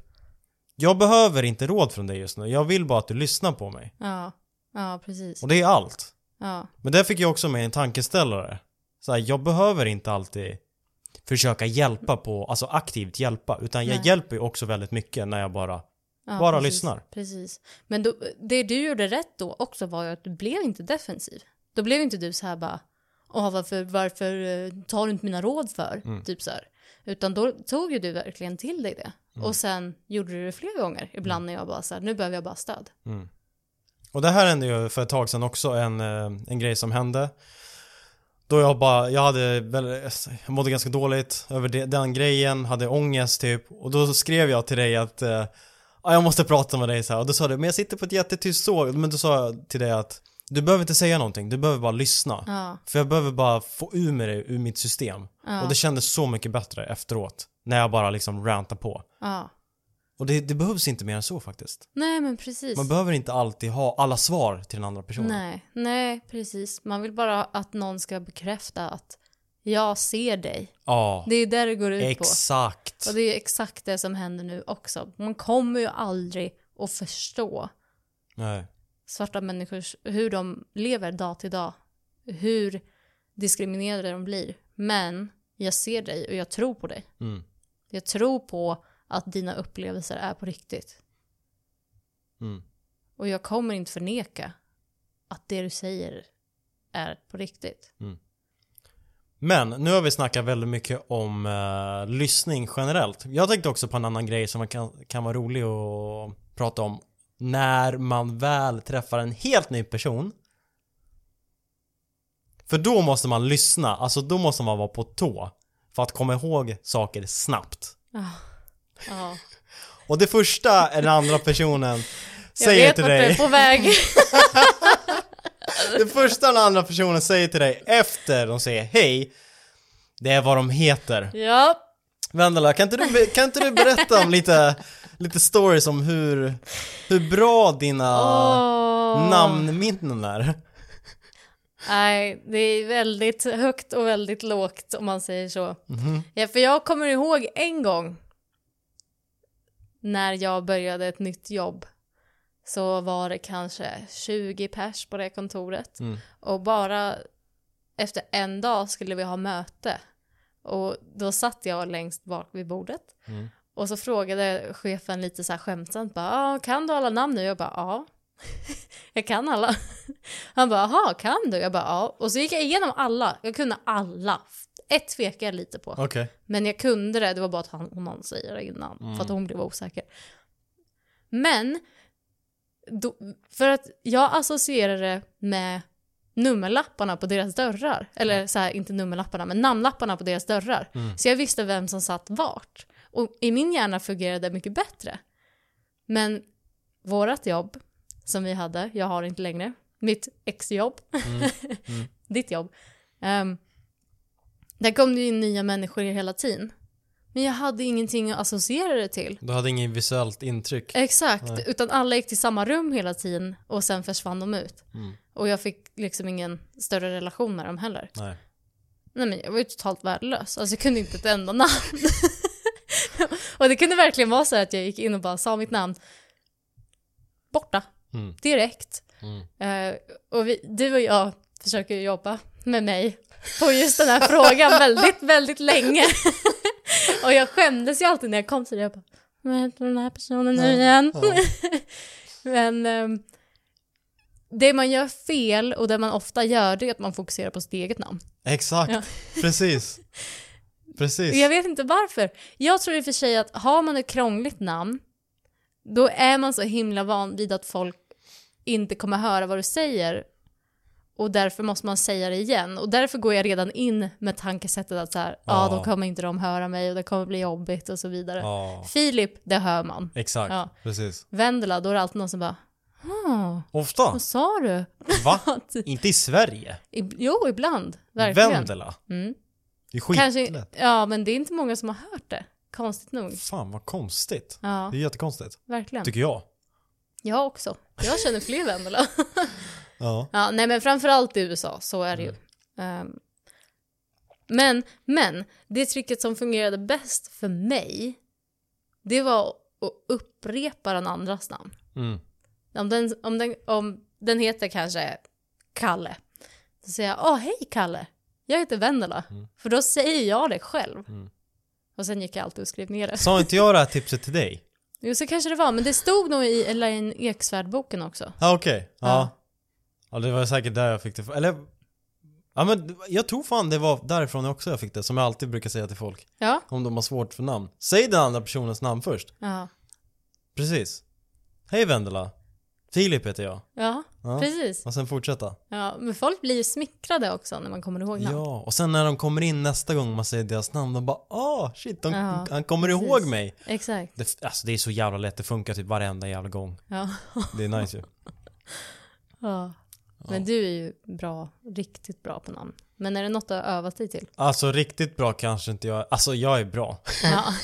A: jag behöver inte råd från dig just nu. Jag vill bara att du lyssnar på mig.
B: Ja, ja precis.
A: Och det är allt.
B: Ja,
A: Men där fick jag också med en tankeställare. Så här, jag behöver inte alltid försöka hjälpa på, alltså aktivt hjälpa, utan jag
B: Nej.
A: hjälper ju också väldigt mycket när jag bara
B: Ja,
A: Bara
B: precis,
A: lyssnar.
B: Precis. Men då, det du gjorde rätt då också var ju att du blev inte defensiv. Då blev inte du så här bara, Åh, varför, varför eh, tar du inte mina råd för?
A: Mm.
B: Typ så här. Utan då tog ju du verkligen till dig det.
A: Mm.
B: Och sen gjorde du det flera gånger. Ibland när jag bara så här, nu behöver jag bara stöd.
A: Och det här hände ju för ett tag sedan också, en, eh, en grej som hände. Då jag bara, jag hade, väl- jag mådde ganska dåligt över det, den grejen, hade ångest typ. Och då så skrev jag till dig att, eh, "Ja, jag måste prata med dig så här. Och då sa du, men jag sitter på ett jättetyst såg. Men då sa jag till dig att, du behöver inte säga någonting, du behöver bara lyssna.
B: Ja.
A: För jag behöver bara få ur mig det ur mitt system. Och det kändes så mycket bättre efteråt. När jag bara liksom rantar på.
B: ja.
A: Och det, det behövs inte mer än så faktiskt.
B: Nej men precis.
A: Man behöver inte alltid ha alla svar till den andra personen.
B: nej, nej precis. Man vill bara att någon ska bekräfta att jag ser dig.
A: Ja,
B: Det är ju det det går ut på.
A: exakt.
B: Och det är ju exakt det som händer nu också. Man kommer ju aldrig att förstå
A: Nej.
B: svarta människors, hur de lever dag till dag. Hur diskriminerade de blir. Men jag ser dig och jag tror på dig.
A: Mm.
B: Jag tror på att dina upplevelser är på riktigt.
A: Mm.
B: Och jag kommer inte förneka att det du säger är på riktigt.
A: Men nu har vi snackat väldigt mycket om eh, lyssning generellt. Jag tänkte också på en annan grej som man kan, kan vara rolig att prata om. När man väl träffar en helt ny person. För då måste man lyssna, alltså då måste man vara på tå. För att komma ihåg saker snabbt.
B: Ja.
A: Och det första eller andra personen
B: Jag
A: säger
B: vet
A: till
B: vart du är
A: dig.
B: på väg.
A: Det första den andra personen säger till dig efter de säger hej. Det är vad de heter.
B: ja.
A: Vendela, kan inte du, kan inte du berätta om lite, lite stories om hur, hur bra dina
B: Åh.
A: namnminnen är?
B: Nej, det är väldigt högt och väldigt lågt om man säger så. Ja, för jag kommer ihåg en gång när jag började ett nytt jobb så var det kanske 20 pers på det kontoret
A: Mm.
B: och bara efter en dag skulle vi ha möte och då satt jag längst bak vid bordet
A: Mm.
B: och så frågade chefen lite så här skämtsamt bara "Ah, kan du alla namn nu? Jag bara ja, jag kan alla. Han bara, aha, kan du? Jag bara, ja. Och så gick jag igenom alla. Jag kunde alla. Ett tvekade jag lite på.
A: Okej.
B: Men jag kunde det. Det var bara att han, hon någon säger det innan. För att hon blev osäker. Men, då, för att jag associerade det med nummerlapparna på deras dörrar. Eller så här, inte nummerlapparna, men namnlapparna på deras dörrar. Så jag visste vem som satt vart. Och i min hjärna fungerade det mycket bättre. Men vårat jobb som vi hade, jag har det inte längre, mitt exjobb, ditt jobb, ehm, där kom det ju in nya människor hela tiden. Men jag hade ingenting att associera det till.
A: Du hade inget visuellt intryck.
B: Exakt, utan alla gick till samma rum hela tiden och sen försvann de ut. Och jag fick liksom ingen större relation med dem heller.
A: Nej.
B: Nej men jag var ju totalt värdelös, alltså jag kunde inte ett enda namn. och det kunde verkligen vara så här att jag gick in och bara sa mitt namn, borta,
A: Mm.
B: direkt. Eh, och vi, du och jag försöker ju jobba med mig på just den här frågan väldigt, väldigt länge. och jag skämdes ju alltid när jag kom till det, jag bara, vad heter den här personen nu igen? men ehm, det man gör fel och det man ofta gör det är att man fokuserar på sitt eget namn.
A: Exakt,
B: Ja.
A: precis. Precis.
B: Och Jag vet inte varför. Jag tror i och för sig att har man ett krångligt namn, då är man så himla van vid att folk inte kommer höra vad du säger. Och därför måste man säga det igen. Och därför går jag redan in med tankesättet att så här, ja
A: Ja.
B: då kommer inte de höra mig och det kommer bli jobbigt och så vidare.
A: Ja,
B: Filip, det hör man.
A: exakt.
B: Ja.
A: Precis.
B: Vendela, då är det alltid någon som bara, "Ah,
A: Ofta.
B: vad sa du?
A: Va? Inte i Sverige.
B: Ib- Jo, ibland. Verkligen.
A: Vendela.
B: Mm.
A: Det är skitlätt.
B: Kanske, ja, men det är inte många som har hört det. Konstigt nog.
A: Fan vad konstigt.
B: Ja,
A: Det är jättekonstigt.
B: verkligen.
A: Tycker jag.
B: Jag också. Jag känner fler Vendela.
A: Ja.
B: ja, nej men framförallt i USA, så är det ju. Ehm, men, men, det tricket som fungerade bäst för mig, det var att upprepa den andras namn.
A: Mm.
B: Om den, om den, om den heter kanske Kalle, så säger jag åh hej Kalle, jag heter Vendela. För då säger jag det själv. Och sen gick jag alltid och skrev ner det.
A: Sa inte jag det här tipset till dig?
B: Jo, så kanske det var, men det stod nog i Elaine Eksvärd-boken också.
A: Ja okej, ja.
B: Ja.
A: Ja det var säkert där jag fick det, eller Ja men jag tror fan det var därifrån också jag fick det, som jag alltid brukar säga till folk
B: Ja.
A: Om de har svårt för namn Säg den andra personens namn först,
B: Ja.
A: precis Hej Vendela Filip heter jag
B: Ja,
A: Ja.
B: precis.
A: Och sen fortsätta
B: Ja, men folk blir ju smickrade också när man kommer ihåg namn.
A: Ja, och sen när de kommer in nästa gång man säger deras namn, de bara ah shit, de,
B: Ja,
A: han kommer
B: precis.
A: ihåg mig
B: Exakt.
A: det, Alltså det är så jävla lätt, det funkar typ varenda jävla gång
B: Ja.
A: Det är nice ju
B: ja. Men du är ju bra, riktigt bra på namn. Men är det något du har övat dig till?
A: Alltså riktigt bra kanske inte jag Alltså jag är bra
B: Ja.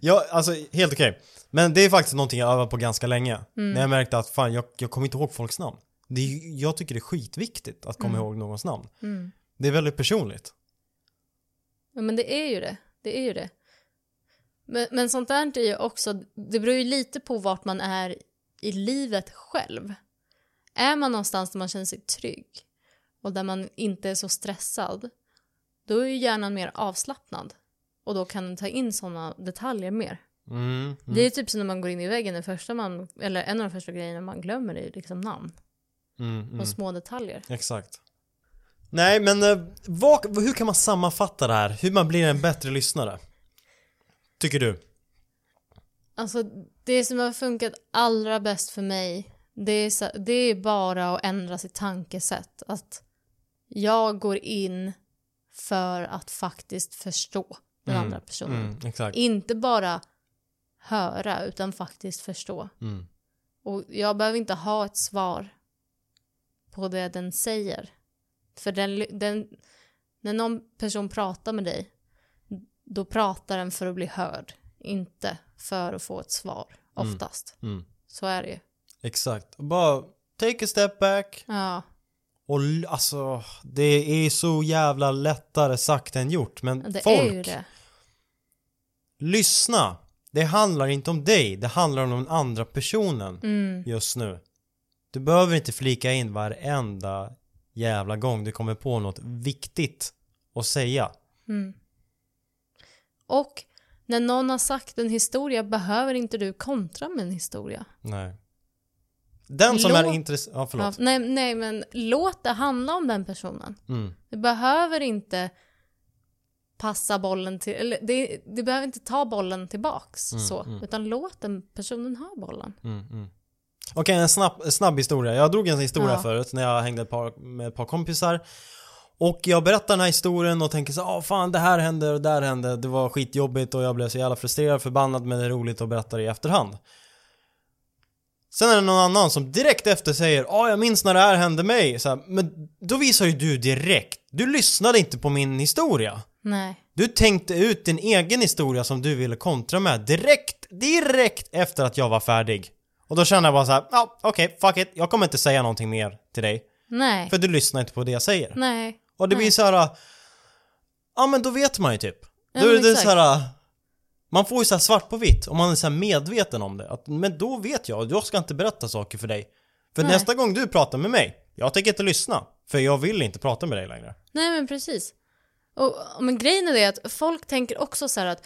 A: Ja, alltså helt okej. Men det är faktiskt någonting jag övar på ganska länge.
B: Mm.
A: När jag märkte att fan, jag, jag kommer inte ihåg folks namn. Det är, ju- jag tycker det är skitviktigt att komma ihåg någons namn.
B: Mm.
A: Det är väldigt personligt.
B: ja, men det är ju det. Det är ju det. Men, men sånt där är ju också, det beror ju lite på vart man är i livet själv. Är man någonstans där man känner sig trygg och där man inte är så stressad, då är ju hjärnan mer avslappnad och då kan den ta in sådana detaljer mer.
A: Mm, mm,
B: Det är typ som när man går in i väggen, den första man, eller en av de första grejerna man glömmer är ju liksom namn.
A: Mm, mm.
B: och små detaljer.
A: Exakt. Nej, men eh, vad, hur kan man sammanfatta det här? Hur man blir en bättre lyssnare? Tycker du?
B: Alltså det som har funkat allra bäst för mig det är, så, det är bara att ändra sitt tankesätt. Att jag går in för att faktiskt förstå den
A: Mm,
B: andra personen.
A: Mm, exakt.
B: Inte bara höra utan faktiskt förstå.
A: Mm.
B: Och jag behöver inte ha ett svar på det den säger. För den, den, när någon person pratar med dig, då pratar den för att bli hörd, inte för att få ett svar oftast.
A: Mm.
B: Så är det ju.
A: Exakt. Och Bara take a step back.
B: Ja,
A: Och l- alltså, det är så jävla lättare sagt än gjort. Men
B: det
A: folk,
B: är ju det.
A: lyssna. Det handlar inte om dig, det handlar om den andra personen
B: Mm.
A: just nu. Du behöver inte flika in varenda jävla gång du kommer på något viktigt att säga.
B: Mm. Och när någon har sagt en historia behöver inte du kontra med en historia.
A: Nej. Den som är
B: Låt-
A: intresserad... Ja, förlåt.
B: Ja, nej, nej, men låt det handla om den personen.
A: Mm.
B: Du behöver inte passa bollen till, eller det, du behöver inte ta bollen tillbaks så, utan låt den personen ha bollen.
A: Mm, mm. Okej, en snabb, snabb historia. Jag drog en historia
B: Ja.
A: förut när jag hängde ett par, med ett par kompisar. Och jag berättar den här historien och tänker så ah fan det här hände och det där hände. Det var skitjobbigt och jag blev så jävla frustrerad, förbannad men det är roligt att berätta det i efterhand. Sen är det någon annan som direkt efter säger ah jag minns när det här hände mig. Så här, men då visar ju du direkt, du lyssnade inte på min historia.
B: Nej.
A: Du tänkte ut din egen historia som du ville kontra med direkt, direkt efter att jag var färdig. Och då kände jag bara så här, ja okej, fuck it, jag kommer inte säga någonting mer till dig.
B: Nej.
A: För du lyssnar inte på det jag säger.
B: Mm. Nej.
A: Och det blir så här, ja men då vet man ju typ.
B: Ja,
A: Då
B: men
A: är det
B: exakt.
A: så här, man får ju så här svart på vitt om man är så här medveten om det. Att, men då vet jag, jag ska inte berätta saker för dig. För
B: Nej.
A: nästa gång du pratar med mig, jag tänker inte lyssna. För jag vill inte prata med dig längre.
B: Nej men precis. Och, och men grejen är det att folk tänker också så här att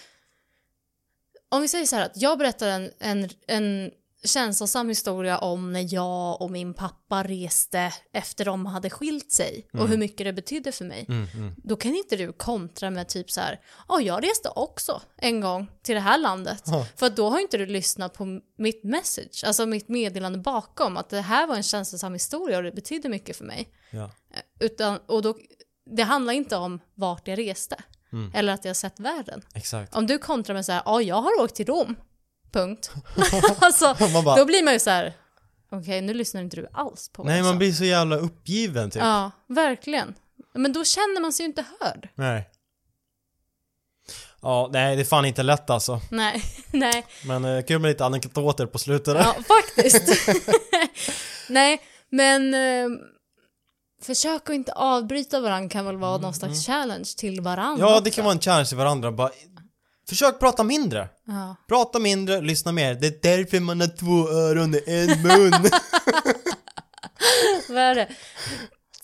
B: om vi säger så här att jag berättar en, en, en känslosam historia om när jag och min pappa reste efter de hade skilt sig och hur mycket det betydde för mig. Då kan inte du kontra med typ så här, ja jag reste också en gång till det här landet.
A: Ja.
B: För att då har inte du lyssnat på mitt message, alltså mitt meddelande bakom, att det här var en känslosam historia och det betydde mycket för mig.
A: Ja.
B: Utan, och då, det handlar inte om vart jag reste
A: Mm.
B: eller att jag sett världen.
A: Exakt.
B: Om du kontrar med så här, ja jag har åkt till Rom, punkt. alltså,
A: Man bara-
B: då blir man ju så här, okej nu lyssnar inte du alls på vad
A: Nej
B: jag
A: man
B: sa."
A: blir så jävla uppgiven typ.
B: Ja, verkligen. Men då känner man sig ju inte hörd.
A: Nej. Ja, nej det är fan inte lätt alltså.
B: Nej, nej,
A: Men eh, kul med lite anekdoter på slutet där.
B: ja faktiskt. nej, men eh, försök att inte avbryta varandra kan väl vara någon slags challenge till varandra.
A: Mm, Ja, det kan vara en challenge till varandra. Bara, försök prata mindre.
B: Ja.
A: Prata mindre, lyssna mer. Det är därför man har två öron och en mun.
B: Vad är det?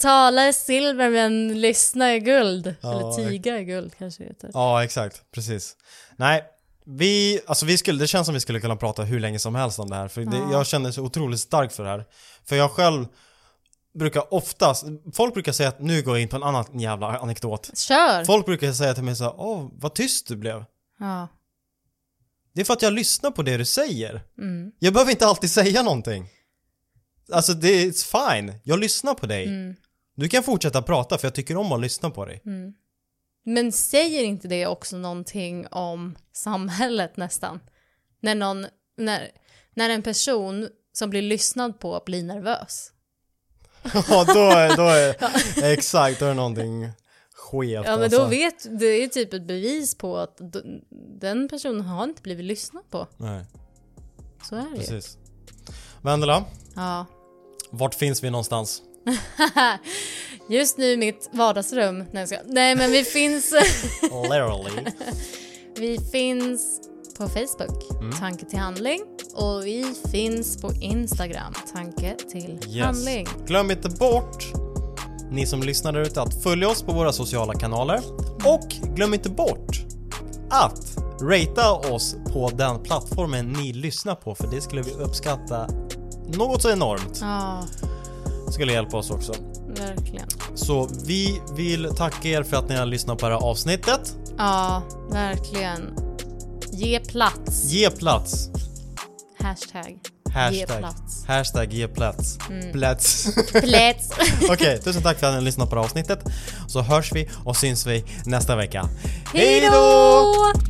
B: Tala är silver men lyssna är guld.
A: Ja,
B: Eller tiga är guld kanske det heter.
A: ja, exakt. Precis. Nej, vi, alltså vi skulle, det känns som vi skulle kunna prata hur länge som helst om det här. För det, jag känner så otroligt starkt för det här. För jag själv brukar oftast, folk brukar säga att nu går jag in på en annan jävla anekdot.
B: Kör!
A: Folk brukar säga till mig så här, åh, vad tyst du blev.
B: Ja.
A: Det är för att jag lyssnar på det du säger.
B: Mm.
A: Jag behöver inte alltid säga någonting. Alltså det är it's fine, jag lyssnar på dig.
B: Mm.
A: Du kan fortsätta prata för jag tycker om att lyssna på dig.
B: Men säger inte det också någonting om samhället nästan? När, någon, när, när en person som blir lyssnad på blir nervös.
A: Ja då är, då är, exakt, då är det någonting skevt
B: Ja men
A: alltså.
B: då vet, det är typ ett bevis på att d- den personen har inte blivit lyssnad på.
A: Nej,
B: Så är det ju.
A: precis. Vendela,
B: Ja.
A: vart finns vi någonstans?
B: Just nu mitt vardagsrum. Nej, jag ska. Nej men vi finns...
A: Literally.
B: Vi finns på Facebook, Tanke till handling. Och vi finns på Instagram, Tanke till
A: Yes.
B: handling.
A: Glöm inte bort, ni som lyssnar där ute, att följa oss på våra sociala kanaler. Och glöm inte bort att ratea oss på den plattformen ni lyssnar på, för det skulle vi uppskatta något så enormt.
B: Ja,
A: skulle hjälpa oss också.
B: Verkligen.
A: Så vi vill tacka er för att ni har lyssnat på det här avsnittet.
B: Ja, verkligen. Ge plats.
A: Ge plats!
B: Hashtag.
A: Hashtag.
B: Ge plats. Mm.
A: Hashtag ge plats. Plats.
B: Plats.
A: Okej, tusen tack för att ni har lyssnat på det här avsnittet. Så hörs vi och syns vi nästa vecka.
B: Hej då!